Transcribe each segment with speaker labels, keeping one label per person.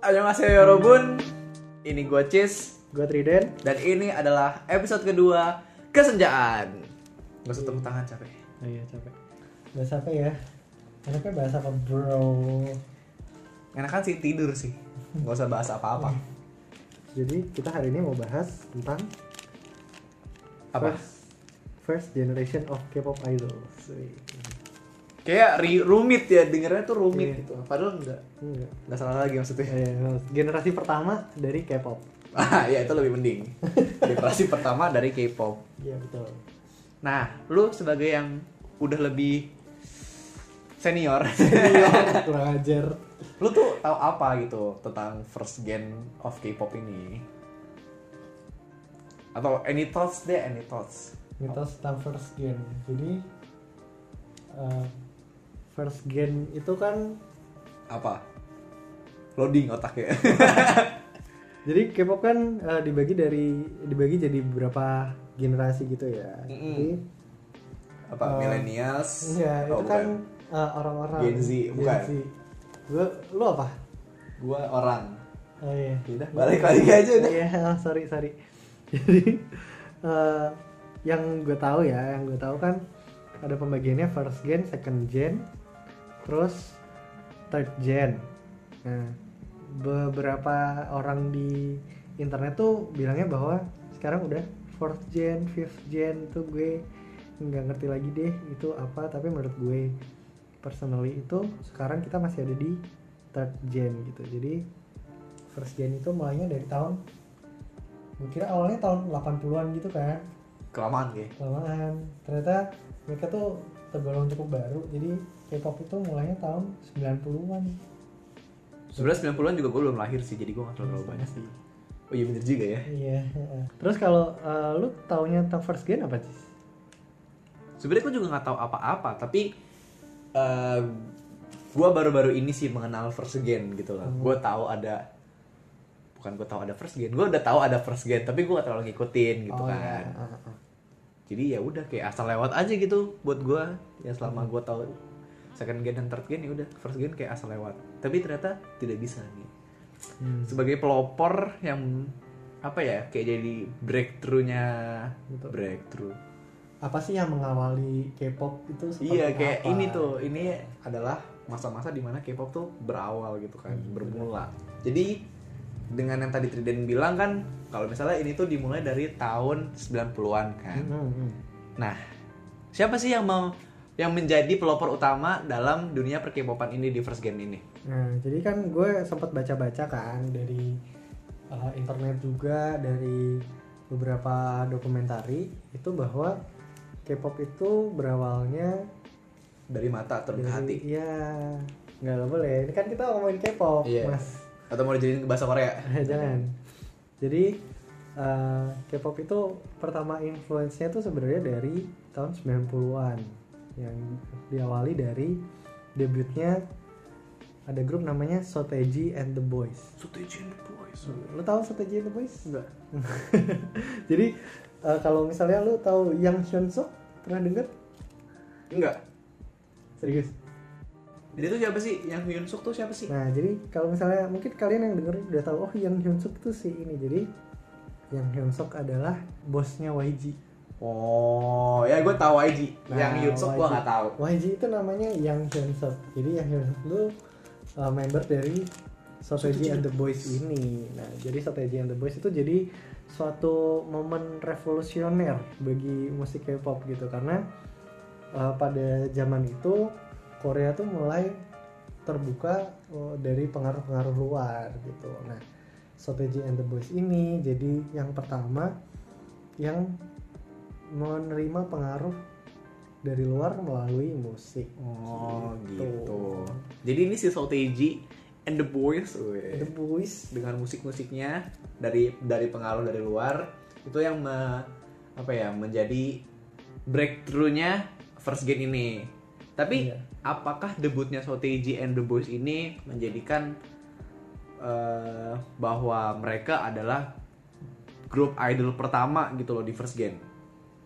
Speaker 1: Annyeonghaseyo Yorobun Ini gue Cis
Speaker 2: Gue Triden
Speaker 1: Dan ini adalah episode kedua Kesenjaan Gak usah tepuk tangan capek
Speaker 2: Oh iya capek Bahasa apa ya? Enaknya bahasa apa bro?
Speaker 1: Enakan sih tidur sih Gak usah bahas apa-apa
Speaker 2: Jadi kita hari ini mau bahas tentang
Speaker 1: Apa?
Speaker 2: First, first generation of K-pop idols Wih,
Speaker 1: Kayak ri- rumit ya, dengernya tuh rumit
Speaker 2: Iya.
Speaker 1: gitu Padahal enggak
Speaker 2: Enggak
Speaker 1: Enggak salah lagi maksudnya
Speaker 2: Eh, Generasi pertama dari K-pop
Speaker 1: Ah ya itu lebih mending Generasi pertama dari K-pop
Speaker 2: Iya betul
Speaker 1: Nah, lu sebagai yang udah lebih senior
Speaker 2: Iya, Kurang ajar
Speaker 1: lu tuh tahu apa gitu tentang first gen of K-pop ini? Atau any thoughts deh, any thouts?
Speaker 2: Mitos tentang first gen Jadi eh, First gen itu kan
Speaker 1: Apa? Loading otaknya.
Speaker 2: Jadi K-pop kan eh, dibagi dari dibagi jadi beberapa generasi gitu ya.
Speaker 1: Mm-mm.
Speaker 2: Jadi
Speaker 1: apa
Speaker 2: Eh,
Speaker 1: millennials?
Speaker 2: enggak,
Speaker 1: Oh,
Speaker 2: itu kan
Speaker 1: bukan.
Speaker 2: eh, orang-orang
Speaker 1: Gen Z, bukan.
Speaker 2: Z. Lu, lu apa?
Speaker 1: gua orang.
Speaker 2: Oh iya.
Speaker 1: Udah, balik lagi aja udah.
Speaker 2: Iya, sorry, sorry. Jadi eh, yang gue tahu ya, yang gue tahu kan ada pembagiannya first gen, second gen, terus third gen. Nah, beberapa orang di internet tuh bilangnya bahwa sekarang udah fourth gen, fifth gen tuh gue nggak ngerti lagi deh itu apa tapi menurut gue personally itu sekarang kita masih ada di third gen gitu jadi first gen itu mulainya dari tahun gue kira awalnya tahun 80-an gitu kan
Speaker 1: Kelamaan gue.
Speaker 2: kelamaan ternyata mereka tuh tergolong cukup baru jadi K-pop itu mulainya tahun 90-an
Speaker 1: Sebenarnya 90-an juga gua belum lahir sih, jadi gua gak terlalu banyak sih. Oh iya bener juga ya.
Speaker 2: iya heeh. terus kalau eh, lu taunya tentang first gen apa sih
Speaker 1: Sebenarnya gua juga nggak tahu apa-apa, tapi eh gua baru-baru ini sih mengenal first gen gitu loh.
Speaker 2: Hmm.
Speaker 1: Gua tahu ada bukan gua tahu ada first gen, gua udah tahu ada first gen, tapi gua gak terlalu ngikutin gitu
Speaker 2: Oh,
Speaker 1: kan.
Speaker 2: iya, heeh, heeh.
Speaker 1: Jadi ya udah kayak asal lewat aja gitu buat gua. Ya selama gua tahu second gen dan third gen ya udah first gen kayak asal lewat. Tapi ternyata tidak bisa nih.
Speaker 2: Hmm,
Speaker 1: Sebagai pelopor yang apa ya kayak jadi breakthrough-nya
Speaker 2: Betul.
Speaker 1: breakthrough.
Speaker 2: Gitu. apa sih yang mengawali K-pop itu seperti
Speaker 1: Iya kayak
Speaker 2: apa? gitu.
Speaker 1: ini tuh ini adalah masa-masa dimana K-pop tuh berawal gitu kan
Speaker 2: Hmm.
Speaker 1: bermula. Jadi dengan yang tadi Triden bilang kan kalau misalnya ini tuh dimulai dari tahun 90-an kan.
Speaker 2: Hmm, hmm.
Speaker 1: Nah, siapa sih yang mau yang menjadi pelopor utama dalam dunia perkepopan ini di first gen ini?
Speaker 2: Nah, jadi kan gue sempat baca-baca kan dari uh, internet juga dari beberapa dokumentari itu bahwa K-pop itu berawalnya
Speaker 1: Dari mata turun ke hati.
Speaker 2: dari ya nggak lah, boleh ini kan kita ngomongin K-pop
Speaker 1: Iya.
Speaker 2: mas
Speaker 1: Atau mau dijadiin ke bahasa Korea?
Speaker 2: jangan jadi uh, K-pop itu pertama influence-nya tuh sebenarnya dari tahun 90-an yang diawali dari debutnya ada grup namanya Soteji and the Boys
Speaker 1: Sutejin Boys.
Speaker 2: Lu tahu strategi itu boys? Enggak. Jadi eh, kalau misalnya lu tahu Yang Hyun Suk pernah denger?
Speaker 1: Enggak.
Speaker 2: Serius.
Speaker 1: Jadi itu siapa sih? Yang Hyun Suk tuh siapa sih?
Speaker 2: Nah, jadi kalau misalnya mungkin kalian yang denger udah tahu oh Yang Hyun Suk tuh si ini. Jadi Yang Hyun Suk adalah bosnya YG.
Speaker 1: Oh, ya gue tahu YG. yang
Speaker 2: Nah,
Speaker 1: Hyun Suk gue
Speaker 2: YG.
Speaker 1: nggak tahu.
Speaker 2: YG itu namanya Yang Hyun Suk. Jadi Yang Hyun Suk itu eh, member dari Strategy and the Boys ini. Nah, jadi Strategy and the Boys itu jadi suatu momen revolusioner bagi musik K-pop gitu karena eh, pada zaman itu Korea tuh mulai terbuka eh, dari pengaruh-pengaruh luar gitu. Nah, Strategy and the Boys ini jadi yang pertama yang menerima pengaruh dari luar melalui musik.
Speaker 1: Oh,
Speaker 2: Gitu.
Speaker 1: gitu. Jadi ini si Soteji and the Boys. weh.
Speaker 2: The Boys
Speaker 1: dengan musik-musiknya dari dari pengaruh dari luar itu yang me- apa ya menjadi breakthrough-nya first gen ini. Tapi
Speaker 2: Iya.
Speaker 1: apakah debutnya Soteji and the Boys ini menjadikan eh, bahwa mereka adalah grup idol pertama gitu loh di first gen?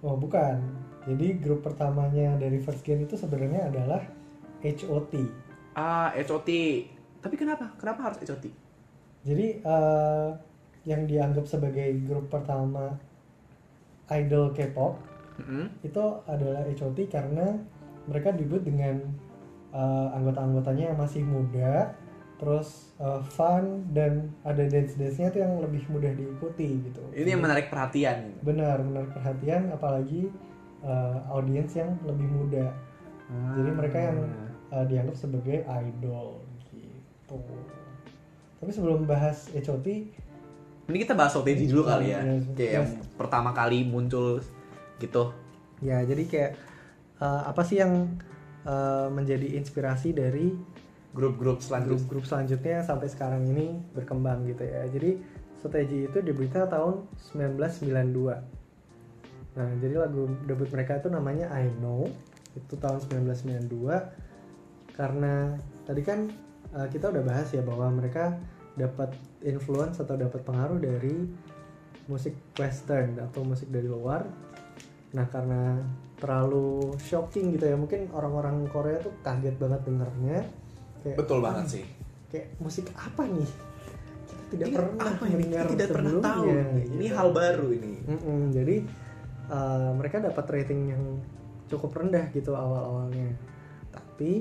Speaker 2: Oh bukan. Jadi grup pertamanya dari First Gen itu sebenarnya adalah HOT.
Speaker 1: Ah, HOT. Tapi kenapa? Kenapa harus HOT?
Speaker 2: Jadi eh, yang dianggap sebagai grup pertama idol K-pop
Speaker 1: Mm-mm.
Speaker 2: itu adalah HOT karena mereka debut dengan eh, anggota-anggotanya yang masih muda, terus eh, fun dan ada dance-dance-nya tuh yang lebih mudah diikuti gitu.
Speaker 1: Ini yang menarik perhatian. gitu.
Speaker 2: benar menarik perhatian apalagi eh, audiens yang lebih muda Ah. Jadi mereka yang- eh, dianggap sebagai idol gitu. Tapi sebelum bahas HOT,
Speaker 1: Ini kita bahas OTG dulu kali ya.
Speaker 2: Iya,
Speaker 1: Kayak yang pertama kali muncul gitu.
Speaker 2: ya jadi kayak eh, apa sih yang eh, menjadi inspirasi dari
Speaker 1: Grup-grup selanjutnya.
Speaker 2: grup-grup selanjutnya sampai sekarang ini berkembang gitu ya. Jadi strategi itu diberita tahun 1992. Nah, jadi lagu debut mereka itu namanya I Know. Itu tahun 1992 karena tadi kan eh, kita udah bahas ya bahwa mereka dapat influence atau dapat pengaruh dari musik western atau musik dari luar. Nah, karena terlalu shocking gitu ya. Mungkin orang-orang Korea tuh kaget banget dengernya. Kayak,
Speaker 1: Betul banget sih.
Speaker 2: kayak musik apa nih kita tidak
Speaker 1: Ini
Speaker 2: pernah
Speaker 1: Iya, apa ini? Kita
Speaker 2: mendengar
Speaker 1: tidak pernah tahu.
Speaker 2: sebelumnya,
Speaker 1: nih. Ini
Speaker 2: gitu.
Speaker 1: hal baru ini.
Speaker 2: Mm-mm, jadi uh, mereka dapat rating yang cukup rendah gitu awal-awalnya tapi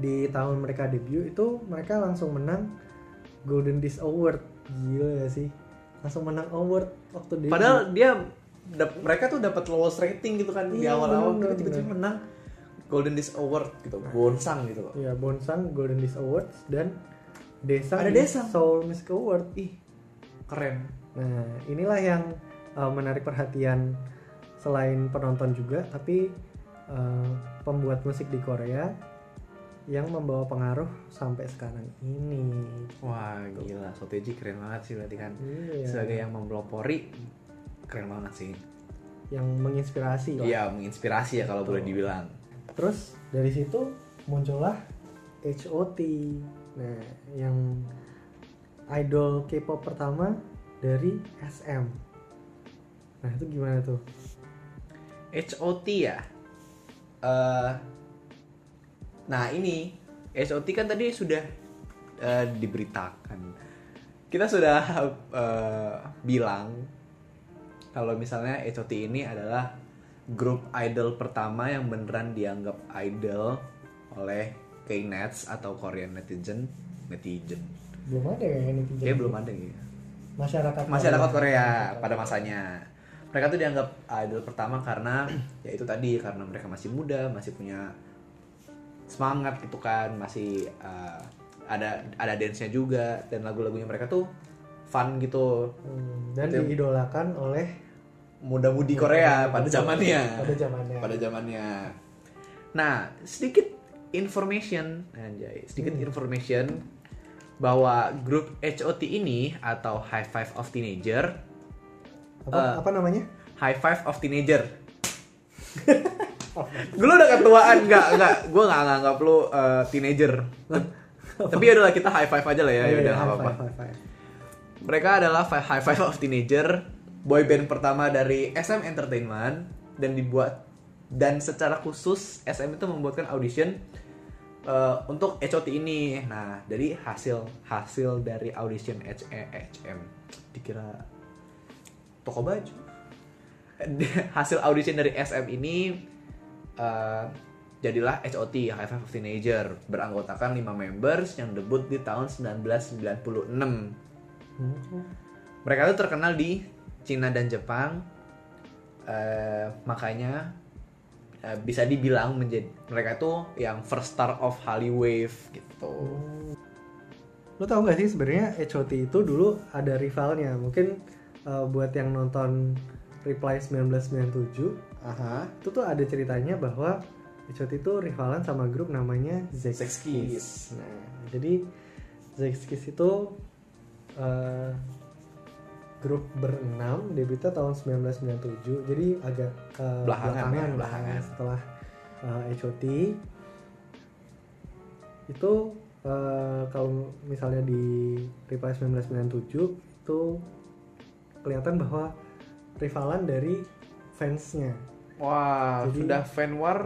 Speaker 2: di tahun mereka debut itu mereka langsung menang Golden Disc Award gila ya sih langsung menang award waktu debut
Speaker 1: Padahal dia dap- mereka tuh dapat lowest rating gitu kan di
Speaker 2: Iya,
Speaker 1: awal-awal kita
Speaker 2: bener,
Speaker 1: tiba-tiba
Speaker 2: bener.
Speaker 1: menang Golden Disc Award gitu, bonsang gitu loh.
Speaker 2: ya Bonsang Golden Disc Awards dan Desa
Speaker 1: Ada
Speaker 2: di
Speaker 1: Desa.
Speaker 2: Soul Music Award
Speaker 1: Ih, keren.
Speaker 2: Nah, inilah yang uh, menarik perhatian selain penonton juga, tapi uh, pembuat musik di Korea yang membawa pengaruh sampai sekarang ini.
Speaker 1: Wah, gila. Soteji keren banget sih berarti kan.
Speaker 2: Iya.
Speaker 1: Sebagai yang mempelopori keren banget sih.
Speaker 2: yang menginspirasi lah.
Speaker 1: Iya, menginspirasi ya kalau boleh dibilang.
Speaker 2: Terus dari situ muncullah HOT. Nah, yang idol K-pop pertama dari SM. Nah, itu gimana tuh?
Speaker 1: HOT ya. Eh, nah ini HOT kan tadi sudah eh, diberitakan. Kita sudah eh, bilang kalau misalnya HOT ini adalah grup idol pertama yang beneran dianggap idol oleh K-Nets atau Korean netizen netizen.
Speaker 2: Belum ada ya netizen?
Speaker 1: Kayaknya belum ada ya
Speaker 2: Masyarakat
Speaker 1: masyarakat Korea pada masanya. Mereka tuh dianggap idol pertama karena ya itu tadi karena mereka masih muda, masih punya semangat gitu kan, masih uh, ada ada dance-nya juga dan lagu-lagunya mereka tuh fun gitu.
Speaker 2: Hmm, dan
Speaker 1: Itu-
Speaker 2: diidolakan oleh
Speaker 1: Muda-mudi Korea pada zamannya.
Speaker 2: pada zamannya
Speaker 1: Pada zamannya. Nah, sedikit information anjay, sedikit information bahwa grup HOT ini atau High Five of Teenager
Speaker 2: apa,
Speaker 1: Ah.
Speaker 2: apa namanya
Speaker 1: High five of teenager. Gue udah ketuaan, nggak nggak, gue nggak nganggap lu eh, teenager. Tapi ya udahlah kita high five aja lah ya, ya udah
Speaker 2: Iya,
Speaker 1: nggak
Speaker 2: high
Speaker 1: apa-apa.
Speaker 2: five, high five.
Speaker 1: Mereka adalah fi- high five of teenager, boy band pertama dari SM Entertainment dan dibuat dan secara khusus SM itu membuatkan audition eh, untuk HOT ini. Nah, jadi hasil hasil dari audition H- eh, HM dikira toko baju. Eh, hasil audition dari SM ini eh, jadilah HOT High Five of Teenager beranggotakan 5 members yang debut di tahun 1996.
Speaker 2: Hmm.
Speaker 1: Mereka tuh terkenal di Cina dan Jepang. Eh, makanya eh, bisa dibilang menjadi mereka tuh yang first star of Hallyu Wave gitu.
Speaker 2: lo tau gak sih sebenarnya HOT itu dulu ada rivalnya mungkin uh, buat yang nonton Reply 1997
Speaker 1: Aha.
Speaker 2: itu tuh ada ceritanya bahwa HOT itu rivalan sama grup namanya Zex
Speaker 1: Sex Kiss.
Speaker 2: Nah, jadi Zex Kiss itu eh, grup berenam debutnya tahun 1997. Jadi agak eh,
Speaker 1: Belakangan ya,
Speaker 2: lah,
Speaker 1: belakangan.
Speaker 2: setelah eh, HOT itu eh, kalau misalnya di Reply 1997 itu kelihatan bahwa rivalan dari fansnya.
Speaker 1: Wah,
Speaker 2: Jadi-
Speaker 1: sudah fan war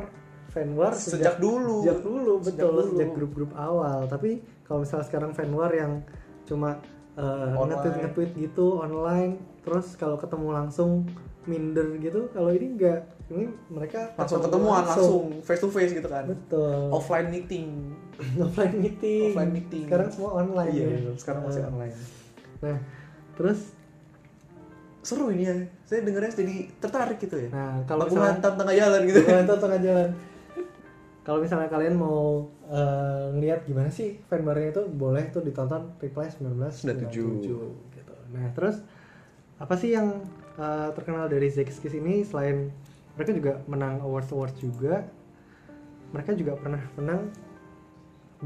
Speaker 2: Fanwar
Speaker 1: sejak
Speaker 2: sejak
Speaker 1: dulu.
Speaker 2: Sejak dulu
Speaker 1: Sejak
Speaker 2: betul
Speaker 1: dulu.
Speaker 2: sejak grup-grup awal. Tapi kalau misalnya sekarang fanwar yang cuma eh,
Speaker 1: Online.
Speaker 2: nge-tweet nge-tweet gitu online terus kalau ketemu langsung minder gitu kalau ini enggak ini mereka
Speaker 1: langsung
Speaker 2: ketemu
Speaker 1: ketemuan langsung face to face gitu kan
Speaker 2: betul
Speaker 1: offline meeting
Speaker 2: offline meeting
Speaker 1: Offline meeting.
Speaker 2: sekarang semua online
Speaker 1: iya
Speaker 2: ya.
Speaker 1: sekarang masih
Speaker 2: Eh,
Speaker 1: online
Speaker 2: nah terus
Speaker 1: seru ini ya saya dengarnya jadi tertarik gitu ya
Speaker 2: nah
Speaker 1: kalau
Speaker 2: kalau misalnya-
Speaker 1: hantam tengah jalan gitu
Speaker 2: Jalan tuh tengah jalan. Kalau misalnya kalian mau eh, ngeliat gimana sih fanbarnya itu boleh tuh ditonton Reply 1997 gitu. Nah, terus apa sih yang eh, terkenal dari Zack Kiss ini selain mereka juga menang awards awards juga. Mereka juga pernah menang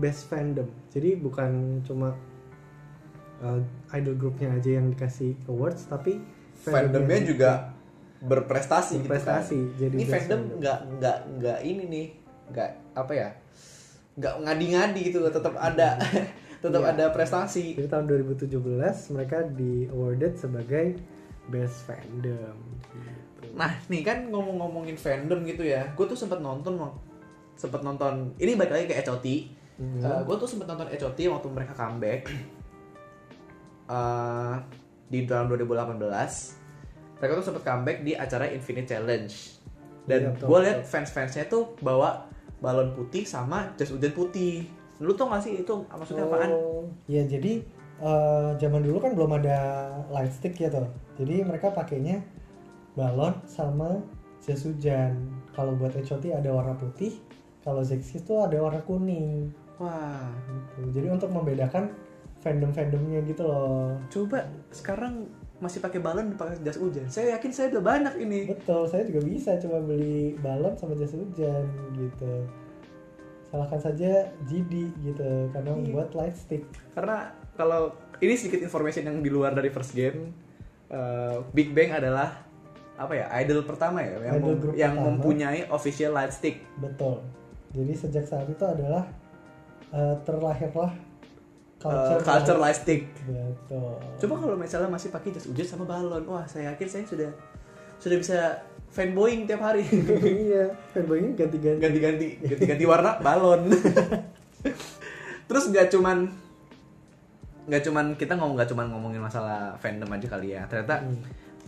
Speaker 2: Best Fandom. Jadi bukan cuma eh, idol grupnya aja yang dikasih awards tapi
Speaker 1: fandomnya juga berprestasi, gitu
Speaker 2: Berprestasi,
Speaker 1: kan.
Speaker 2: jadi
Speaker 1: ini
Speaker 2: best
Speaker 1: fandom
Speaker 2: fandom.
Speaker 1: nggak nggak nggak ini nih nggak apa ya nggak ngadi-ngadi gitu tetap ada tetap
Speaker 2: Iya.
Speaker 1: ada prestasi
Speaker 2: Jadi tahun 2017 mereka di awarded sebagai best fandom. Gitu.
Speaker 1: nah nih kan ngomong-ngomongin fandom gitu ya gue tuh sempat nonton sempat nonton ini balik lagi ke Echoti
Speaker 2: Hmm.
Speaker 1: gue Eh, tuh sempat nonton Echoti waktu mereka comeback Eh, di tahun 2018 mereka tuh sempat comeback di acara Infinite Challenge
Speaker 2: Iya,
Speaker 1: dan
Speaker 2: betul,
Speaker 1: gue
Speaker 2: betul.
Speaker 1: liat fans-fansnya tuh bawa balon putih sama jas hujan putih lu tau gak sih itu maksudnya apaan
Speaker 2: Oh, Ya jadi eh, zaman dulu kan belum ada light stick ya toh. Jadi mereka pakainya balon sama jas hujan. Kalau buat HOT ada warna putih, kalau Zexis itu ada warna kuning.
Speaker 1: wah
Speaker 2: Gitu. Jadi untuk membedakan fandom-fandomnya gitu loh.
Speaker 1: coba sekarang masih pakai balon pakai jas hujan saya yakin saya udah banyak ini
Speaker 2: Betul, saya juga bisa cuma beli balon sama jas hujan gitu. Salahkan saja JD gitu karena
Speaker 1: Iya.
Speaker 2: buat light stick.
Speaker 1: karena kalau ini sedikit information yang di luar dari first game eh, Big Bang adalah apa ya idol pertama ya yang,
Speaker 2: Idol
Speaker 1: mem-
Speaker 2: grup
Speaker 1: yang
Speaker 2: pertama.
Speaker 1: mempunyai official light stick eh,
Speaker 2: Betul. Jadi sejak saat itu adalah eh, terlahirlah
Speaker 1: culture,
Speaker 2: culture,
Speaker 1: Eh, culture light stick
Speaker 2: Betul.
Speaker 1: coba kalau misalnya masih pakai jas hujan sama balon wah saya yakin saya sudah sudah bisa fanboying tiap hari
Speaker 2: iya, fanboynya ganti-ganti.
Speaker 1: ganti-ganti ganti-ganti warna balon terus nggak cuman nggak cuman kita ngomong nggak cuman ngomongin masalah fandom aja kali ya ternyata
Speaker 2: Hmm.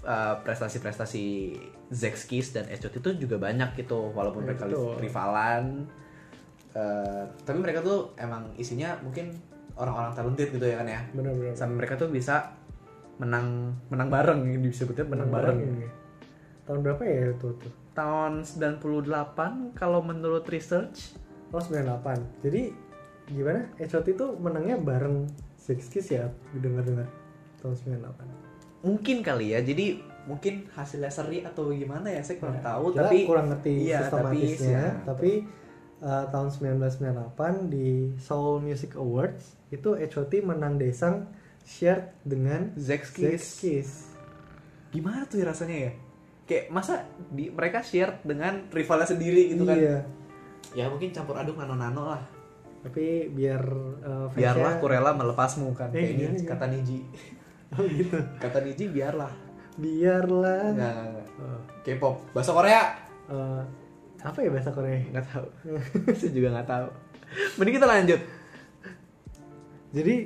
Speaker 1: uh, prestasi-prestasi Zexkis dan Echot itu juga banyak gitu walaupun
Speaker 2: Ya,
Speaker 1: mereka
Speaker 2: betul.
Speaker 1: rivalan Uh, tapi mereka tuh emang isinya mungkin orang-orang talented gitu ya kan ya
Speaker 2: Benar-benar.
Speaker 1: sampai mereka tuh bisa menang menang bareng ini disebutnya menang
Speaker 2: Hmm.
Speaker 1: bareng
Speaker 2: ini. Tahun berapa ya itu tuh?
Speaker 1: tahun 98 kalau menurut research
Speaker 2: Oh 98. Jadi gimana? HOT itu menangnya bareng Six Kiss ya, dengar-dengar tahun 98.
Speaker 1: mungkin kali ya jadi mungkin hasilnya seri atau gimana ya saya kurang
Speaker 2: Ya,
Speaker 1: tahu
Speaker 2: kita
Speaker 1: tapi
Speaker 2: kurang ngerti
Speaker 1: iya,
Speaker 2: sistematisnya
Speaker 1: tapi-
Speaker 2: tapi, uh, tahun 1998 di Seoul Music Awards itu HOT menang desang shared dengan Zack
Speaker 1: Zexkis
Speaker 2: Kiss
Speaker 1: gimana tuh ya rasanya ya kayak masa di, mereka share dengan rivalnya sendiri gitu kan
Speaker 2: iya
Speaker 1: ya mungkin campur aduk nano nano lah
Speaker 2: tapi biar uh, fansnya-
Speaker 1: biarlah Kurela melepasmu kan
Speaker 2: Eh,
Speaker 1: kayak ini
Speaker 2: iya, iya.
Speaker 1: kata Niji
Speaker 2: oh gitu
Speaker 1: kata Niji biarlah
Speaker 2: biarlah
Speaker 1: nggak nggak, nggak.
Speaker 2: Uh,
Speaker 1: K-pop bahasa Korea
Speaker 2: uh, apa ya bahasa Korea
Speaker 1: nggak tahu saya juga nggak tahu mending kita lanjut
Speaker 2: Jadi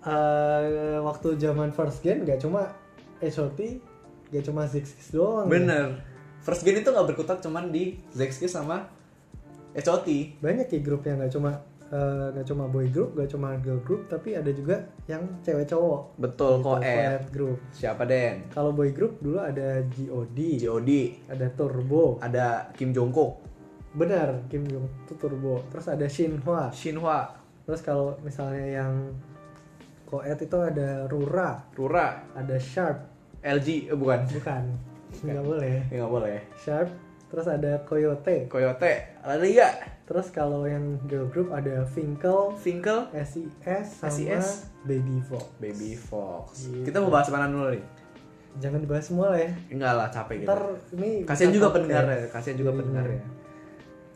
Speaker 2: eh waktu zaman first gen gak cuma HOT, gak cuma Six Kiss doang. ya.
Speaker 1: bener first gen itu nggak berkutat cuman di Zexkis sama Echoti
Speaker 2: Banyak ya grup yang gak cuma eh, gak cuma boy group, gak cuma girl group, tapi ada juga yang cewek cowok.
Speaker 1: betul
Speaker 2: Gitu,
Speaker 1: koed
Speaker 2: co-ed group.
Speaker 1: siapa Den
Speaker 2: Kalau boy group dulu ada GOD,
Speaker 1: JOD
Speaker 2: ada Turbo.
Speaker 1: ada Kim Jongkook
Speaker 2: Benar, Kim Jong itu Turbo. Terus ada Shinhwa.
Speaker 1: Shinhwa
Speaker 2: Terus kalau misalnya yang koed itu ada Rura,
Speaker 1: Rura
Speaker 2: ada Sharp.
Speaker 1: LG eh, bukan
Speaker 2: Bukan. Enggak boleh.
Speaker 1: ya nggak boleh
Speaker 2: Sharp, terus ada Coyote.
Speaker 1: Coyote ada nggak
Speaker 2: Terus kalau yang girl group ada Finkel,
Speaker 1: Finkel
Speaker 2: SES sama
Speaker 1: SES.
Speaker 2: Baby Vogue.
Speaker 1: Baby Fox.
Speaker 2: Gitu.
Speaker 1: Kita mau bahas mana dulu nih?
Speaker 2: Jangan dibahas semua lah ya.
Speaker 1: Enggak lah, capek gitu.
Speaker 2: Ntar ini
Speaker 1: Kasihan
Speaker 2: bisa
Speaker 1: juga
Speaker 2: podcast.
Speaker 1: pendengar ya, kasihan juga
Speaker 2: Iya.
Speaker 1: pendengar ya.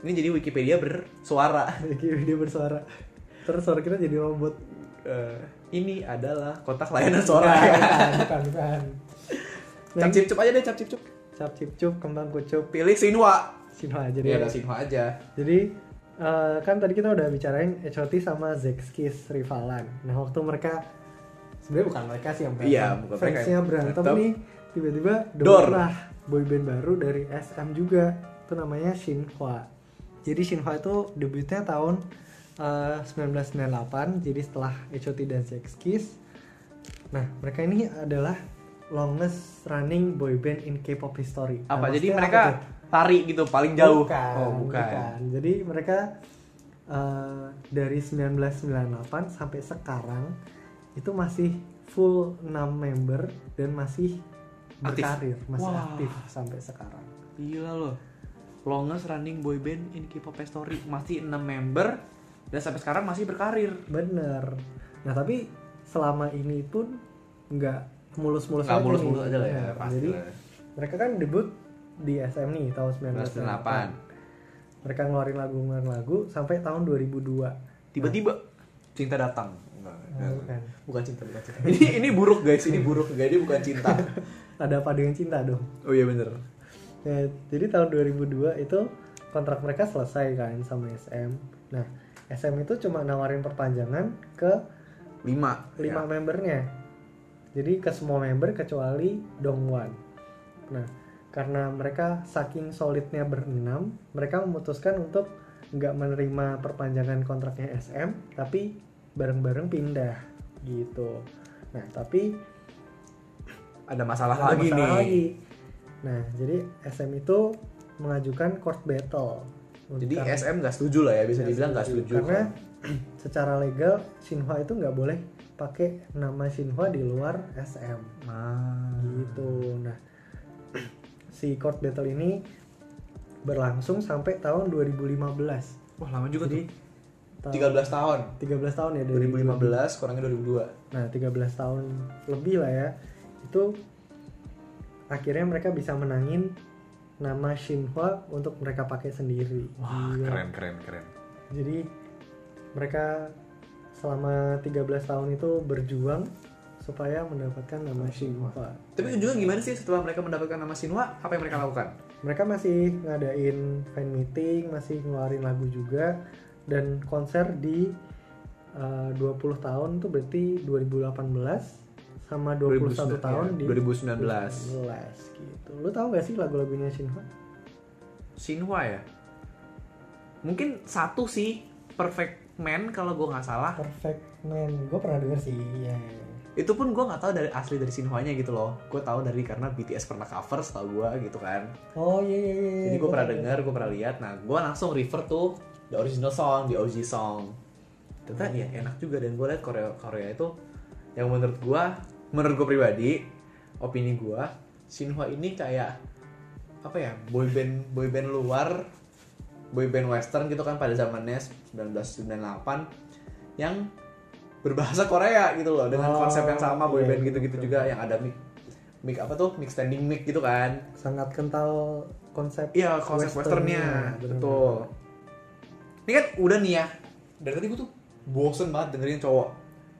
Speaker 1: Ini jadi Wikipedia bersuara.
Speaker 2: Lagi video bersuara. Terus suara kita jadi robot.
Speaker 1: Eh, ini adalah kotak layanan suara.
Speaker 2: bukan, bukan, bukan.
Speaker 1: cap cip cup aja deh, cap cip cup.
Speaker 2: Cap cip cup, kembang kucup,
Speaker 1: Pilih Sinwa.
Speaker 2: sino aja deh.
Speaker 1: Iya, ada Sinwa aja.
Speaker 2: Jadi eh, kan tadi kita udah bicarain HOT sama Zexkis rivalan. Nah waktu mereka sebenarnya bukan mereka sih yang berantem.
Speaker 1: Iya, bukan mereka
Speaker 2: Fansnya
Speaker 1: yang
Speaker 2: berantem
Speaker 1: berantem.
Speaker 2: nih tiba-tiba
Speaker 1: Dor.
Speaker 2: Dorlah boyband baru dari SM juga. Itu namanya Shinhwa. Jadi Shinhwa itu debutnya tahun eh, 1998. Jadi setelah HOT dan Zexkis. Nah mereka ini adalah longest running boyband in K-pop history. Nah,
Speaker 1: Apa? Jadi
Speaker 2: maksudnya
Speaker 1: mereka
Speaker 2: apa tuh?
Speaker 1: lari gitu paling jauh.
Speaker 2: Bukan,
Speaker 1: oh, bukan.
Speaker 2: bukan. Jadi mereka eh, dari 1998 sampai sekarang itu masih full 6 member dan masih
Speaker 1: Aktif.
Speaker 2: berkarir, masih
Speaker 1: Wah.
Speaker 2: aktif sampai sekarang.
Speaker 1: Gila loh. Longest running boy band in K-pop history masih 6 member dan sampai sekarang masih berkarir.
Speaker 2: Bener. Nah tapi selama ini pun nggak mulus-mulus
Speaker 1: Nggak
Speaker 2: aja
Speaker 1: mulus-mulus
Speaker 2: nih.
Speaker 1: aja lah ya,
Speaker 2: Nah,
Speaker 1: pasti
Speaker 2: Jadi
Speaker 1: lah.
Speaker 2: mereka kan debut di SM nih tahun
Speaker 1: 1998.
Speaker 2: 1998. Mereka ngeluarin lagu ngeluarin lagu sampai tahun 2002.
Speaker 1: Tiba-tiba cinta datang. Enggak,
Speaker 2: Nah,
Speaker 1: enggak.
Speaker 2: bukan.
Speaker 1: Bukan cinta, bukan cinta. ini ini buruk guys, ini buruk. Gak ini bukan cinta.
Speaker 2: Ada apa dengan cinta dong?
Speaker 1: Oh iya bener.
Speaker 2: Ya, jadi tahun 2002 itu kontrak mereka selesai kan sama SM. Nah, SM itu cuma nawarin perpanjangan ke
Speaker 1: 5. 5.
Speaker 2: lima membernya. Jadi ke semua member kecuali Dongwan. Nah, karena mereka saking solidnya berenam, mereka memutuskan untuk nggak menerima perpanjangan kontraknya SM, tapi bareng-bareng pindah gitu. Nah, tapi
Speaker 1: Ada masalah
Speaker 2: ada
Speaker 1: lagi
Speaker 2: masalah
Speaker 1: nih.
Speaker 2: lagi. Nah, jadi SM itu mengajukan court battle.
Speaker 1: Jadi
Speaker 2: Karena-
Speaker 1: SM nggak setuju lah ya, bisa dibilang nggak setuju.
Speaker 2: Karena secara legal Shinhwa itu nggak boleh pakai nama Shinhwa di luar SM
Speaker 1: Ah.
Speaker 2: gitu. Nah, si court battle ini berlangsung sampai tahun 2015.
Speaker 1: Wah lama juga
Speaker 2: Jadi,
Speaker 1: tuh. 13 tahun.
Speaker 2: 13 tahun ya dari
Speaker 1: 2015 kurangnya 2002.
Speaker 2: Nah, 13 tahun lebih lah ya. Itu akhirnya mereka bisa menangin nama Shinhwa untuk mereka pakai sendiri. Gila.
Speaker 1: keren keren.
Speaker 2: Jadi mereka selama 13 tahun itu berjuang supaya mendapatkan nama Shinhwa.
Speaker 1: Tapi ujungnya gimana sih setelah mereka mendapatkan nama Sinwa, apa yang mereka lakukan?
Speaker 2: Mereka masih ngadain fan meeting, masih ngeluarin lagu juga dan konser di eh, 20 tahun tuh berarti 2018 sama 21 tahun di
Speaker 1: 2019.
Speaker 2: 19 gitu. Lu tahu gak sih lagu-lagunya Shinhwa?
Speaker 1: Sinwa ya. Mungkin satu sih Perfect Man kalau gue nggak salah.
Speaker 2: Ah, Perfect Man, gue pernah denger sih. Iya.
Speaker 1: Itu pun gue nggak tahu dari asli dari Sinwanya gitu loh. Gue tahu dari karena BTS pernah cover setahu gue gitu kan.
Speaker 2: Oh iya iya iya.
Speaker 1: Jadi gue pernah dengar, gue pernah lihat. Nah, gue langsung refer tuh the original song, the OG song. Ternyata ya enak juga dan gue lihat Korea Korea itu yang menurut gue, menurut gue pribadi, opini gue, Shinhwa ini kayak apa ya boyband boyband luar, boyband western gitu kan pada zamannya 1998 yang berbahasa Korea gitu loh dengan
Speaker 2: Oh,
Speaker 1: konsep yang sama
Speaker 2: iya,
Speaker 1: boyband
Speaker 2: iya,
Speaker 1: gitu-gitu
Speaker 2: betul.
Speaker 1: juga yang ada mic mic apa tuh mic standing mic gitu kan
Speaker 2: Sangat kental konsep.
Speaker 1: Iya konsep westernnya,
Speaker 2: bener-bener.
Speaker 1: betul. Ini kan udah nih ya. Dari tadi gue tuh bosen banget dengerin cowok.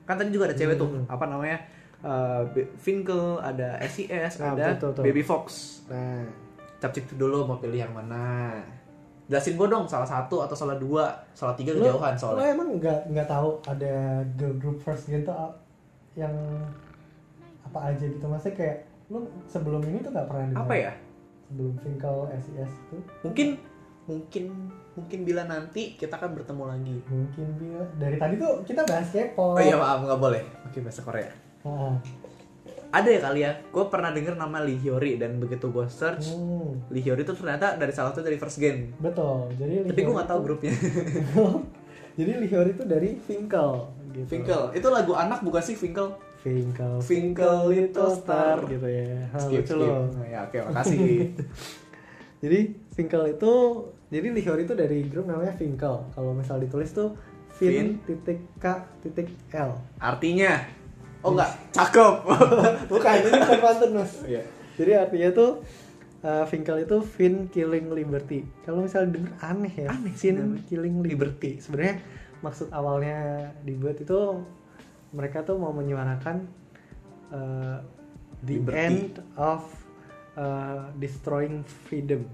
Speaker 1: Kan tadi juga ada cewek tuh,
Speaker 2: Hmm.
Speaker 1: apa namanya? eh, Be- Finkel, ada SES,
Speaker 2: Ah,
Speaker 1: ada
Speaker 2: betul, betul.
Speaker 1: Baby Fox.
Speaker 2: Nah,
Speaker 1: Cap cip dulu mau pilih yang mana. Jelasin gue dong, salah satu atau salah dua, salah tiga
Speaker 2: lu,
Speaker 1: kejauhan
Speaker 2: lu
Speaker 1: soalnya.
Speaker 2: emang nggak nggak tahu ada girl group first gen tuh a- yang apa aja gitu maksudnya kayak lu sebelum ini tuh nggak pernah denger
Speaker 1: Apa ya?
Speaker 2: sebelum Finkel SES itu
Speaker 1: Mungkin, mungkin, mungkin bila nanti kita akan bertemu lagi.
Speaker 2: mungkin bila dari tadi tuh kita bahas K-pop
Speaker 1: Oh iya maaf nggak boleh. Oke bahasa Korea.
Speaker 2: Ah,
Speaker 1: Ada ya kali ya. Gue pernah denger nama Lee Hyori dan begitu gue search,
Speaker 2: hmm,
Speaker 1: Lee Hyori itu ternyata dari salah satu dari first game.
Speaker 2: betul jadi
Speaker 1: Tapi gue
Speaker 2: Lihyori
Speaker 1: gak tahu grupnya.
Speaker 2: tuh- jadi Lihyori itu dari Finkel gitu.
Speaker 1: Finkel. Itu lagu anak bukan sih Finkel?
Speaker 2: Finkel
Speaker 1: Finkel Little Star.
Speaker 2: gitu ya Ah,
Speaker 1: Skip,
Speaker 2: lucu
Speaker 1: skip.
Speaker 2: loh.
Speaker 1: Oh, Ya oke makasih.
Speaker 2: Jadi Finkel itu jadi Lihyori itu dari grup namanya Finkel. Kalau misal ditulis tuh Fin titik K titik L.
Speaker 1: Artinya. Oh enggak, cakep.
Speaker 2: Bukan, ini Panternus.
Speaker 1: Iya.
Speaker 2: Jadi artinya tuh uh, Finkel itu Fin Killing Liberty. Kalau misal denger aneh ya.
Speaker 1: Aneh sih
Speaker 2: Fin
Speaker 1: namanya.
Speaker 2: Killing Liberty. Sebenarnya maksud awalnya dibuat itu mereka tuh mau menyuarakan uh, the
Speaker 1: Liberty.
Speaker 2: end of uh, destroying freedom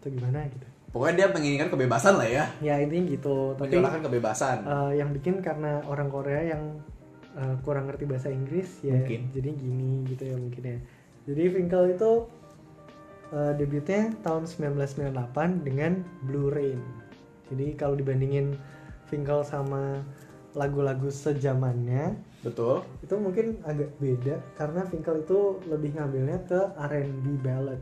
Speaker 2: atau gimana gitu.
Speaker 1: Pokoknya dia menginginkan kebebasan lah ya.
Speaker 2: ya intinya gitu tapi
Speaker 1: Menjolakkan kebebasan.
Speaker 2: eh, yang bikin karena orang Korea yang eh, kurang ngerti bahasa Inggris ya
Speaker 1: Mungkin.
Speaker 2: jadi gini gitu ya mungkin ya jadi Finkel itu eh, debutnya tahun 1998 dengan Blue Rain jadi kalau dibandingin Finkel sama lagu-lagu sejamannya
Speaker 1: Betul.
Speaker 2: itu mungkin agak beda karena Finkel itu lebih ngambilnya ke R&B ballad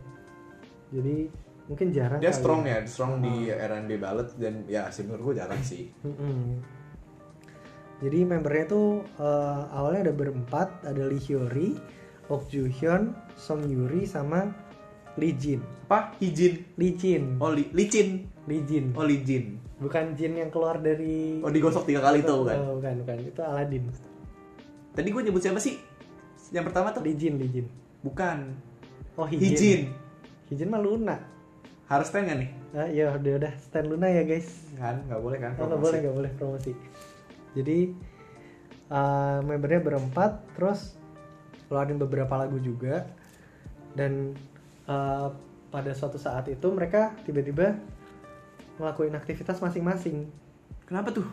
Speaker 2: jadi mungkin jarang
Speaker 1: Dia
Speaker 2: kali
Speaker 1: strong ya, strong di R&B ballad dan ya sih menurut gue jarang sih.
Speaker 2: Mm-mm. jadi membernya tuh eh, awalnya ada berempat ada Lee Hyori, Ok Joo Hyun, Song Yuri sama Lee Jin
Speaker 1: Apa? Hijin.
Speaker 2: Lee Jin
Speaker 1: Oh, li- licin.
Speaker 2: Lee Jin
Speaker 1: Oh, lijin.
Speaker 2: bukan Jin yang keluar dari
Speaker 1: Oh, digosok tiga kali tuh kan.
Speaker 2: Eh, bukan bukan itu Aladdin
Speaker 1: Tadi gue nyebut siapa sih? Yang pertama tuh
Speaker 2: Lee Jin Lee Jin
Speaker 1: bukan
Speaker 2: oh Hijin
Speaker 1: Hijin.
Speaker 2: Hijin mah Luna
Speaker 1: Harus stand nggak nih?
Speaker 2: Ah, ya udah udah stand Luna ya guys
Speaker 1: Kan nggak boleh kan?
Speaker 2: Oh, nggak
Speaker 1: promosi.
Speaker 2: boleh nggak boleh promosi. Jadi eh, membernya berempat, terus keluarin beberapa lagu juga, dan eh, pada suatu saat itu mereka tiba-tiba ngelakuin aktivitas masing-masing.
Speaker 1: Kenapa tuh?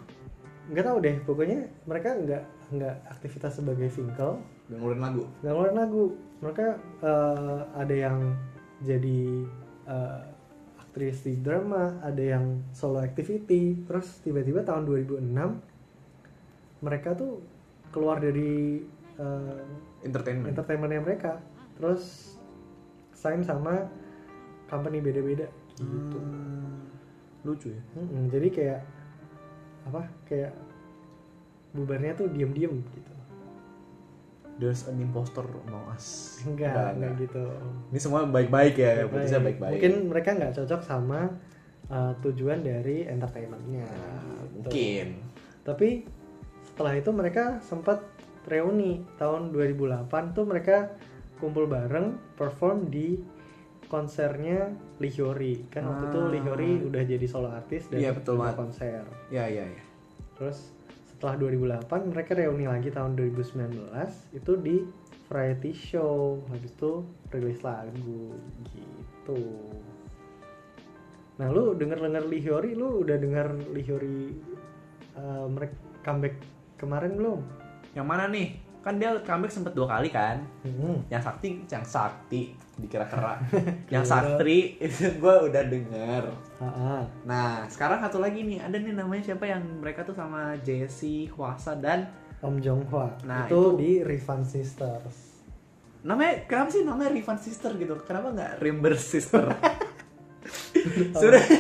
Speaker 2: Nggak tahu deh, pokoknya mereka nggak nggak aktivitas sebagai Finkel,
Speaker 1: Nggak ngeluarin lagu.
Speaker 2: nggak ngeluarin lagu. Mereka eh, ada yang jadi eh, aktris di drama, ada yang solo activity. Terus tiba-tiba tahun 2006 mereka tuh keluar dari eh,
Speaker 1: Entertainment.
Speaker 2: entertainmentnya mereka. Terus sign sama company beda-beda gitu.
Speaker 1: Hmm, Lucu ya.
Speaker 2: Mm-mm, jadi kayak apa? Kayak bubarnya tuh diem-diem gitu.
Speaker 1: There's an imposter among us.
Speaker 2: Enggak, enggak gitu.
Speaker 1: Ini semua baik-baik ya,
Speaker 2: Baik-baik.
Speaker 1: putusnya baik-baik.
Speaker 2: Mungkin mereka nggak cocok sama uh, tujuan dari entertainmentnya.
Speaker 1: Nah,
Speaker 2: Gitu.
Speaker 1: mungkin.
Speaker 2: Tapi setelah itu mereka sempat reuni tahun 2008 tuh mereka kumpul bareng perform di konsernya Lee Hyori kan waktu itu Lee Hyori udah jadi solo artis dan
Speaker 1: Ah. Iya, betul
Speaker 2: ada
Speaker 1: banget.
Speaker 2: konser
Speaker 1: Ya, ya, ya.
Speaker 2: terus setelah 2008 mereka reuni lagi tahun 2019 itu di variety show habis itu rilis lagu gitu nah lu denger denger Lee Hyori lu udah denger Lee Hyori uh, mereka comeback kemarin belum
Speaker 1: Yang mana nih? Kan dia comeback sempet dua kali kan?
Speaker 2: Hmm,
Speaker 1: Yang sakti, yang sakti dikira-kira. yang sastri itu gue udah denger.
Speaker 2: Ah, ah.
Speaker 1: Nah, sekarang satu lagi nih, ada nih namanya siapa yang mereka tuh sama Jesse, Huasa dan
Speaker 2: Om Jong Hwa
Speaker 1: Nah,
Speaker 2: itu,
Speaker 1: itu-
Speaker 2: di Revenge Sisters
Speaker 1: namanya kenapa sih namanya Rivan Sister gitu? Kenapa nggak Rimber Sister? Sudah.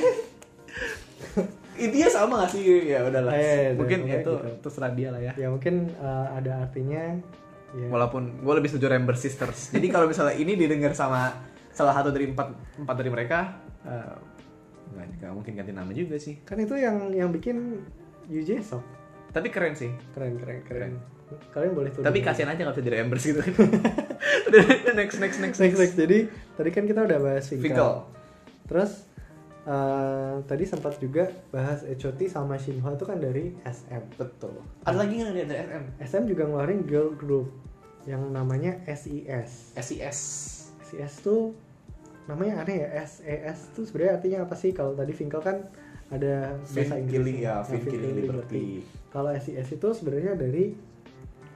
Speaker 1: Intinya sama gak sih? Ya udahlah.
Speaker 2: Eh,
Speaker 1: Mungkin
Speaker 2: pokoknya
Speaker 1: itu
Speaker 2: gitu.
Speaker 1: iya, terserah dia lah ya.
Speaker 2: ya mungkin uh, ada artinya ya.
Speaker 1: Walaupun gue lebih setuju Ramber Sisters. Jadi kalau misalnya ini didengar sama salah satu dari empat empat dari mereka, eh, nggak nggak mungkin ganti nama juga sih.
Speaker 2: kan itu yang yang bikin UJ Sok
Speaker 1: Tapi keren sih.
Speaker 2: keren keren keren kalian boleh tuh
Speaker 1: Tapi
Speaker 2: dengerin.
Speaker 1: kasihan aja nggak bisa jadi Amber gitu. next next next
Speaker 2: next next jadi tadi kan kita udah bahas Finkel,
Speaker 1: Finkel.
Speaker 2: terus eh, tadi sempat juga bahas Echoti sama Shinhwa itu kan dari SM
Speaker 1: Betul. Ada lagi nggak dari SM?
Speaker 2: SM juga ngeluarin girl group yang namanya SES
Speaker 1: SIS.
Speaker 2: SES tuh namanya aneh ya SES tuh sebenarnya artinya apa sih kalau tadi Finkel kan ada
Speaker 1: Fin
Speaker 2: bahasa Inggris Nah,
Speaker 1: Killing ya, Fin Killing Liberty.
Speaker 2: kalau SES itu sebenarnya dari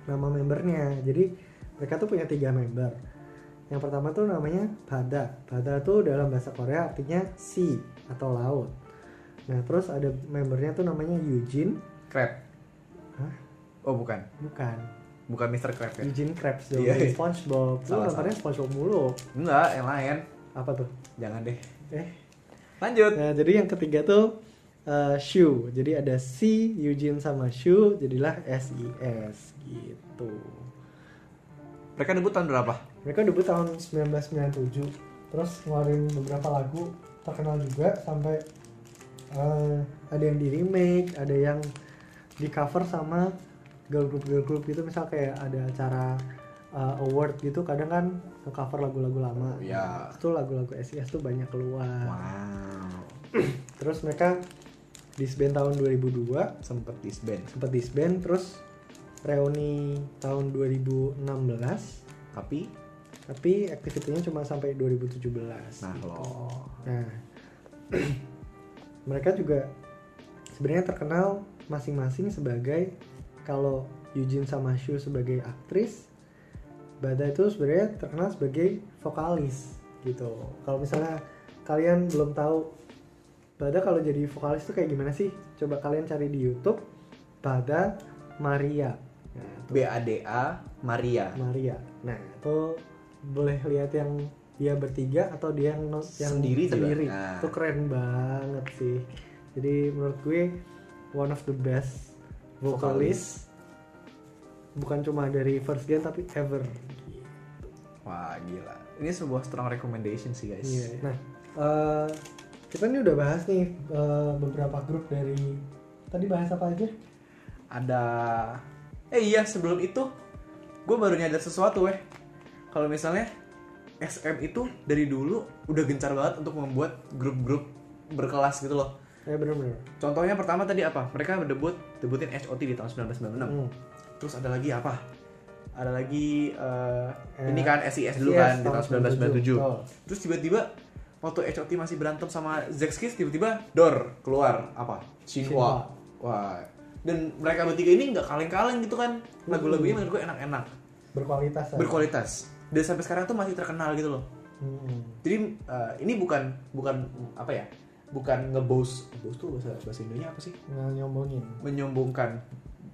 Speaker 2: nama membernya jadi mereka tuh punya tiga member yang pertama tuh namanya Bada Bada tuh dalam bahasa Korea artinya sea atau laut nah terus ada membernya tuh namanya Eugene
Speaker 1: Crab.
Speaker 2: Hah?
Speaker 1: Oh bukan,
Speaker 2: bukan
Speaker 1: bukan Mr. Crab ya?
Speaker 2: Eugene Krabs dong
Speaker 1: Iya, iya.
Speaker 2: SpongeBob tuh
Speaker 1: Salah,
Speaker 2: namanya SpongeBob mulu
Speaker 1: Enggak, yang lain.
Speaker 2: apa tuh
Speaker 1: Jangan deh.
Speaker 2: eh
Speaker 1: Lanjut.
Speaker 2: Nah, jadi yang ketiga tuh eh, Shu. Jadi ada si Eugene sama Shu jadilah SIS gitu.
Speaker 1: Mereka debut tahun berapa?
Speaker 2: Mereka debut tahun 1997. Terus ngeluarin beberapa lagu terkenal juga sampai eh, ada yang di remake, ada yang di cover sama girl group girl group gitu misal kayak ada acara eh, award gitu kadang kan cover lagu-lagu lama.
Speaker 1: Iya.
Speaker 2: Itu lagu-lagu SIS tuh banyak keluar.
Speaker 1: Wow.
Speaker 2: Terus mereka disband tahun 2002,
Speaker 1: Sempet disband.
Speaker 2: sempat disband terus reuni tahun 2016,
Speaker 1: Tapi
Speaker 2: tapi aktivitinya cuma sampai 2017.
Speaker 1: Nah,
Speaker 2: gitu.
Speaker 1: loh.
Speaker 2: Nah. mereka juga sebenarnya terkenal masing-masing sebagai kalau Eugene sama Shu sebagai aktris, Bada itu sebenarnya terkenal sebagai vokalis gitu. Kalau misalnya kalian belum tahu Bada kalau jadi vokalis itu kayak gimana sih? Coba kalian cari di YouTube Bada Maria. Nah, tuh,
Speaker 1: BADA Maria.
Speaker 2: Maria. Nah, itu boleh lihat yang dia bertiga atau dia yang no- yang
Speaker 1: Sendiri juga.
Speaker 2: sendiri.
Speaker 1: Nah.
Speaker 2: Itu keren banget sih. Jadi menurut gue one of the best vokalis bukan cuma dari first gen tapi ever.
Speaker 1: Wah, gila. Ini sebuah strong recommendation sih, guys.
Speaker 2: Nah, eh, kita ini udah bahas nih eh, beberapa grup dari tadi bahas apa aja?
Speaker 1: Ada Eh iya, sebelum itu gue baru nyadar sesuatu, weh. Kalau misalnya SM itu dari dulu udah gencar banget untuk membuat grup-grup berkelas gitu loh.
Speaker 2: Eh bener-bener.
Speaker 1: Contohnya pertama tadi apa? Mereka debut debutin HOT di tahun 1996.
Speaker 2: Hmm.
Speaker 1: Terus ada lagi apa? Ada lagi eh,
Speaker 2: Eh,
Speaker 1: ini kan SIS dulu
Speaker 2: SIS
Speaker 1: kan di tahun
Speaker 2: tahun
Speaker 1: 1997.
Speaker 2: 97. Betul.
Speaker 1: Terus tiba-tiba waktu HOT masih berantem sama Zex Kids tiba-tiba Dor keluar apa? Shinhwa. Wah. Dan mereka bertiga ini nggak kaleng-kaleng gitu kan. Lagu-lagunya menurut gue enak-enak,
Speaker 2: Berkualitas. ya?
Speaker 1: berkualitas. Dan sampai sekarang tuh masih terkenal gitu loh.
Speaker 2: Hmm.
Speaker 1: Jadi eh, ini bukan bukan apa ya? Bukan ngebos. Ngebos tuh bahasa bahasa Indonesia apa sih?
Speaker 2: Nggak nyombongin.
Speaker 1: menyombongkan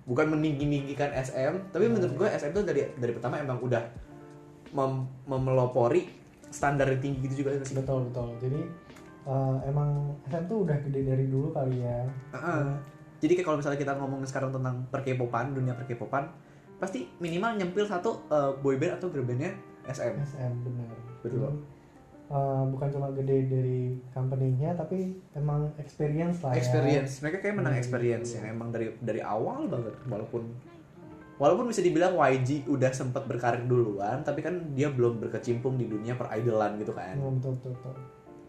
Speaker 1: bukan meninggi-ninggikan SM
Speaker 2: Hmm.
Speaker 1: tapi menurut gue SM tuh dari dari pertama emang udah mem- memelopori standar yang tinggi gitu juga sih
Speaker 2: Betul betul. Jadi eh, emang SM tuh udah gede dari dulu kali ya.
Speaker 1: Heeh. jadi kayak kalau misalnya kita ngomongin sekarang tentang perkepopan dunia perkepopan pasti minimal nyempil satu eh, boyband atau girlbandnya SM
Speaker 2: SM benar.
Speaker 1: Betul.
Speaker 2: Jadi, eh, bukan cuma gede dari company-nya tapi emang experience lah ya.
Speaker 1: experience mereka kayak menang
Speaker 2: Hmm,
Speaker 1: experience
Speaker 2: iya.
Speaker 1: yang emang dari dari awal banget walaupun walaupun bisa dibilang YG udah sempat berkarir duluan tapi kan dia belum berkecimpung di dunia peridolan gitu kan
Speaker 2: Hmm, betul betul. betul.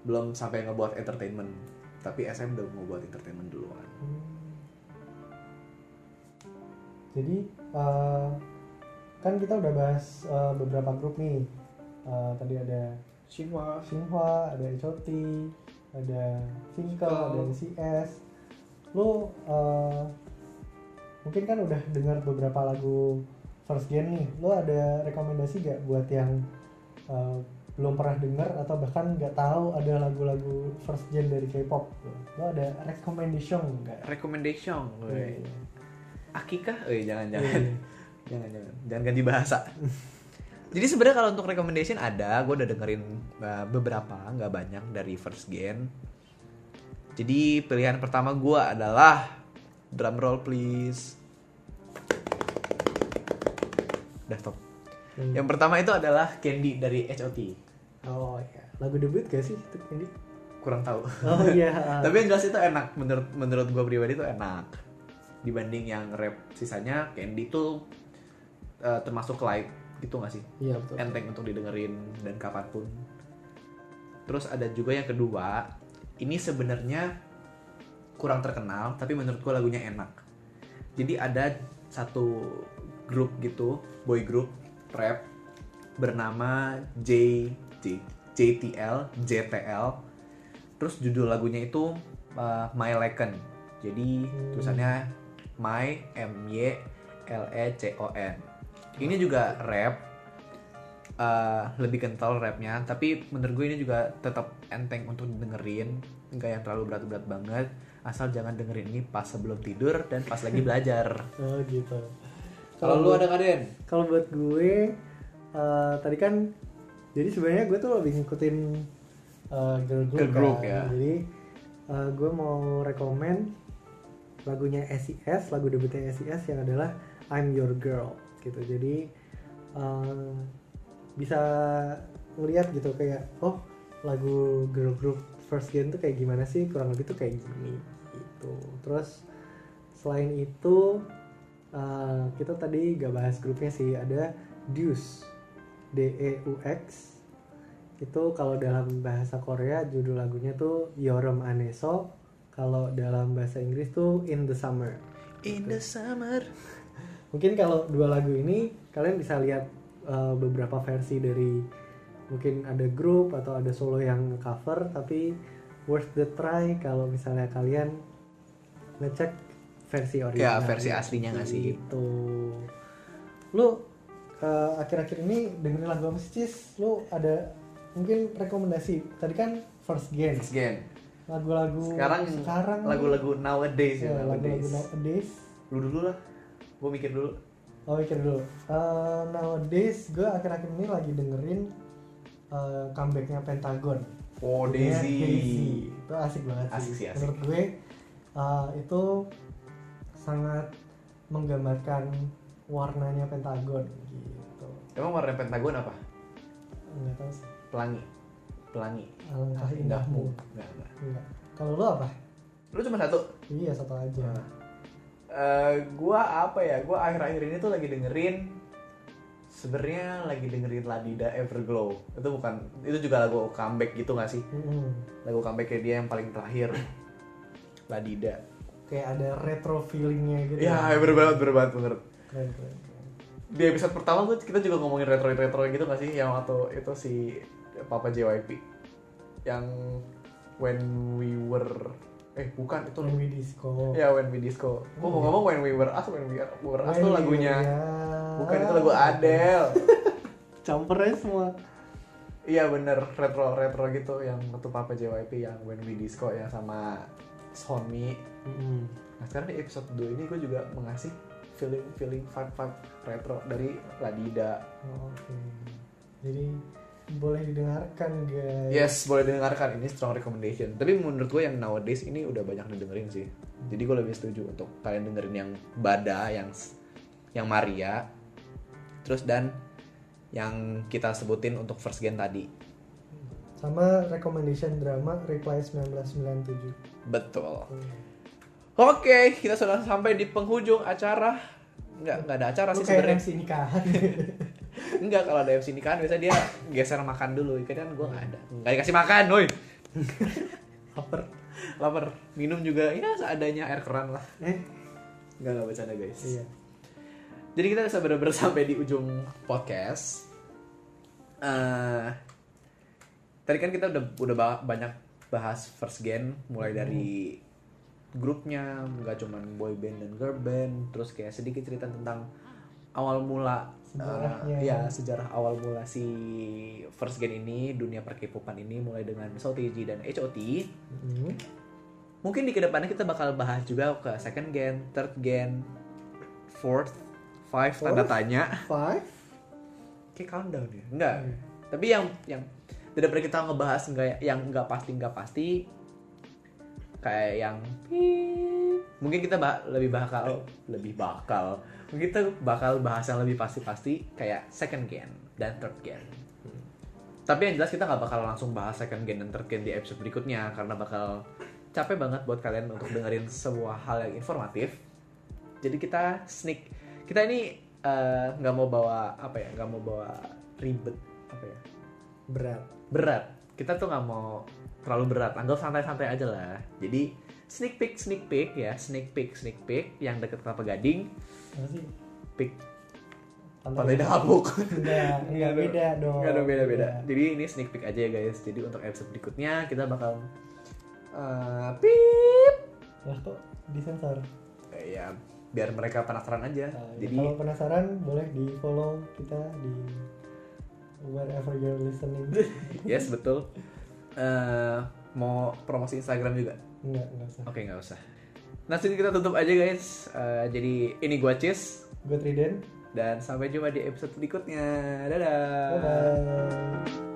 Speaker 1: belum sampai ngebuat entertainment tapi SM udah ngebuat entertainment duluan
Speaker 2: Hmm. Jadi eh, kan kita udah bahas eh, beberapa grup nih. Eh, tadi ada
Speaker 1: Shinwa
Speaker 2: Shinhwa, ada HOT, ada
Speaker 1: Finkel.
Speaker 2: Finkel, ada NCS. Lo eh, mungkin kan udah dengar beberapa lagu first gen nih. Lo ada rekomendasi gak buat yang eh, belum pernah dengar atau bahkan nggak tahu ada lagu-lagu first gen dari K-pop? Lo ada recommendation nggak?
Speaker 1: recommendation weh.
Speaker 2: Iya,
Speaker 1: akikah eh jangan
Speaker 2: iya.
Speaker 1: jangan jangan jangan jangan ganti bahasa jadi sebenarnya kalau untuk recommendation ada gue udah dengerin uh, beberapa nggak banyak dari first gen jadi pilihan pertama gue adalah drum roll please udah stop
Speaker 2: Hmm.
Speaker 1: yang pertama itu adalah Candy dari H.O.T
Speaker 2: Oh iya. Lagu debut gak sih itu ini?
Speaker 1: kurang tahu
Speaker 2: Oh iya.
Speaker 1: Tapi yang jelas itu enak menurut menurut gue pribadi itu enak dibanding yang rap sisanya Candy tuh eh, termasuk light gitu gak sih
Speaker 2: Iya betul.
Speaker 1: enteng untuk didengerin dan kapanpun terus ada juga yang kedua ini sebenarnya kurang terkenal tapi menurut gue lagunya enak jadi ada satu grup gitu boy group rap bernama J, J JTL JTL terus judul lagunya itu uh, My Leken jadi tulisannya
Speaker 2: Hmm.
Speaker 1: My M Y L E C O N ini juga rap uh, lebih kental rapnya tapi menurut gue ini juga tetap enteng untuk dengerin nggak yang terlalu berat-berat banget asal jangan dengerin ini pas sebelum tidur dan pas lagi belajar
Speaker 2: Oh gitu.
Speaker 1: kalau lu ada kaden
Speaker 2: kalau buat gue eh, tadi kan jadi sebenarnya gue tuh lebih ngikutin eh, girl group,
Speaker 1: Girl group,
Speaker 2: kan.
Speaker 1: ya.
Speaker 2: jadi eh, gue mau rekomen lagunya SES lagu debutnya SES yang adalah I'm Your Girl gitu jadi eh, bisa ngeliat gitu kayak oh lagu girl group first gen tuh kayak gimana sih kurang lebih tuh kayak gini gitu terus selain itu eh, kita tadi gak bahas grupnya sih ada Deus D E U X itu kalau dalam bahasa Korea judul lagunya tuh Yoram Aneso kalau dalam bahasa Inggris tuh In the Summer
Speaker 1: in the summer
Speaker 2: mungkin kalau dua lagu ini kalian bisa lihat uh, beberapa versi dari mungkin ada grup atau ada solo yang cover tapi worth the try kalau misalnya kalian ngecek versi
Speaker 1: Ya,
Speaker 2: original.
Speaker 1: versi aslinya nggak sih?
Speaker 2: Gitu. Lu eh, akhir-akhir ini dengerin lagu apa sih, Cis? Lu ada mungkin rekomendasi? Tadi kan first gen.
Speaker 1: Next gen.
Speaker 2: Lagu-lagu
Speaker 1: Oh, Sekarang,
Speaker 2: sekarang nih.
Speaker 1: lagu-lagu nowadays ya,
Speaker 2: ya,
Speaker 1: nowadays.
Speaker 2: lagu-lagu nowadays.
Speaker 1: Lu dulu lah. Gue mikir dulu.
Speaker 2: Oh, mikir dulu. Eh, nowadays gue akhir-akhir ini lagi dengerin eh, comebacknya Pentagon.
Speaker 1: Oh,
Speaker 2: Judulnya
Speaker 1: Daisy.
Speaker 2: Daisy. Itu asik banget sih.
Speaker 1: Asik sih, asik.
Speaker 2: Menurut gue uh, itu sangat menggambarkan warnanya Pentagon gitu.
Speaker 1: Emang warna pentagon apa?
Speaker 2: Enggak tahu sih.
Speaker 1: Pelangi. Pelangi.
Speaker 2: Alangkah
Speaker 1: Ah,
Speaker 2: indahmu.
Speaker 1: Enggak, enggak.
Speaker 2: Enggak. Kalau lu apa?
Speaker 1: Lu cuma satu.
Speaker 2: Iya satu aja.
Speaker 1: Ah. Eh, gua apa ya? Gua akhir-akhir ini tuh lagi dengerin sebenarnya lagi dengerin Ladida Everglow. Itu bukan itu juga lagu comeback gitu gak sih?
Speaker 2: Mm-mm.
Speaker 1: Lagu comebacknya dia yang paling terakhir. Ladida.
Speaker 2: Kayak ada retro feelingnya gitu.
Speaker 1: Ya, bener banget, bener banget, bener.
Speaker 2: Keren, keren, keren.
Speaker 1: Di episode pertama tuh kita juga ngomongin retro-retro gitu gak sih? Yang waktu itu si Papa JYP. Yang When We Were... Eh, bukan, itu
Speaker 2: When we disco.
Speaker 1: Ya When We Disco. Gue mau ngomong When We Were Us, When We Were Us
Speaker 2: When
Speaker 1: tuh
Speaker 2: we
Speaker 1: lagunya.
Speaker 2: were-
Speaker 1: Bukan itu lagu Adele.
Speaker 2: Campurnya semua.
Speaker 1: Iya bener retro retro gitu yang waktu Papa JYP yang When We Disco yang sama Sonmi.
Speaker 2: Mm-mm.
Speaker 1: Nah sekarang di episode 2 ini gue juga mengasih feeling feeling vibe vibe retro dari Ladida.
Speaker 2: Oh, Oke. Jadi boleh didengarkan guys.
Speaker 1: Yes boleh dengarkan ini strong recommendation. Tapi menurut gue yang nowadays ini udah banyak didengerin sih. Jadi gue lebih setuju untuk kalian dengerin yang Bada, yang yang Maria, terus dan yang kita sebutin untuk first gen tadi.
Speaker 2: Sama recommendation drama Reply 1997.
Speaker 1: Betul. Oke, kita sudah sampai di penghujung acara. Enggak, enggak ada acara
Speaker 2: Lu
Speaker 1: sih
Speaker 2: kayak
Speaker 1: sebenarnya.
Speaker 2: MC nikahan.
Speaker 1: Enggak, kalau ada MC nikahan biasanya dia geser makan dulu. Kan gue enggak ada. Enggak dikasih makan, woi.
Speaker 2: Haper.
Speaker 1: Laper. Minum juga ya seadanya air keran lah.
Speaker 2: Eh,
Speaker 1: Enggak enggak bercanda, guys.
Speaker 2: iya.
Speaker 1: Jadi kita bisa benar-benar sampai di ujung podcast. Eh, tadi kan kita udah udah ba- banyak bahas first gen mulai dari
Speaker 2: Hmm.
Speaker 1: grupnya nggak cuman boy band dan girl band terus kayak sedikit cerita tentang awal mula eh,
Speaker 2: Sejarahnya.
Speaker 1: ya sejarah awal mula si first gen ini dunia perkepopan ini mulai dengan SOTG dan HOT
Speaker 2: Mm-mm.
Speaker 1: mungkin di kedepannya kita bakal bahas juga ke second gen, third gen, fourth, five tanda
Speaker 2: Fourth?
Speaker 1: tanya.
Speaker 2: Five.
Speaker 1: Kayak countdown ya? Enggak.
Speaker 2: Hmm.
Speaker 1: Tapi yang yang daripada kita ngebahas enggak yang enggak pasti enggak pasti kayak yang piip. mungkin kita ba- lebih bakal lebih bakal mungkin kita bakal bahas yang lebih pasti-pasti kayak second gen dan third gen tapi yang jelas kita nggak bakal langsung bahas second gen dan third gen di episode berikutnya karena bakal capek banget buat kalian untuk dengerin semua hal yang informatif jadi kita sneak kita ini eh, nggak mau bawa apa ya nggak mau bawa ribet apa ya
Speaker 2: Berat.
Speaker 1: berat kita tuh nggak mau terlalu berat anggap santai-santai aja lah jadi sneak peek sneak peek ya sneak peek sneak peek yang deket kelapa gading
Speaker 2: Apa sih?
Speaker 1: peek
Speaker 2: Pantai.
Speaker 1: pantai dahapuk
Speaker 2: Enggak, enggak beda dong.
Speaker 1: Enggak dong beda-beda.
Speaker 2: Iya.
Speaker 1: Jadi ini sneak peek aja ya guys. Jadi untuk episode berikutnya kita bakal eh, pip.
Speaker 2: Lah kok disensor?
Speaker 1: Eh, ya biar mereka penasaran aja.
Speaker 2: Nah, ya,
Speaker 1: Jadi
Speaker 2: kalau penasaran boleh di follow kita di wherever you're listening.
Speaker 1: yes betul. Eh, mau promosi Instagram juga.
Speaker 2: enggak, enggak usah.
Speaker 1: Oke nggak usah. Nah sini kita tutup aja guys. Eh, jadi ini gua Cis
Speaker 2: Gue Triden.
Speaker 1: dan sampai jumpa di episode berikutnya. Dadah.
Speaker 2: Bye bye.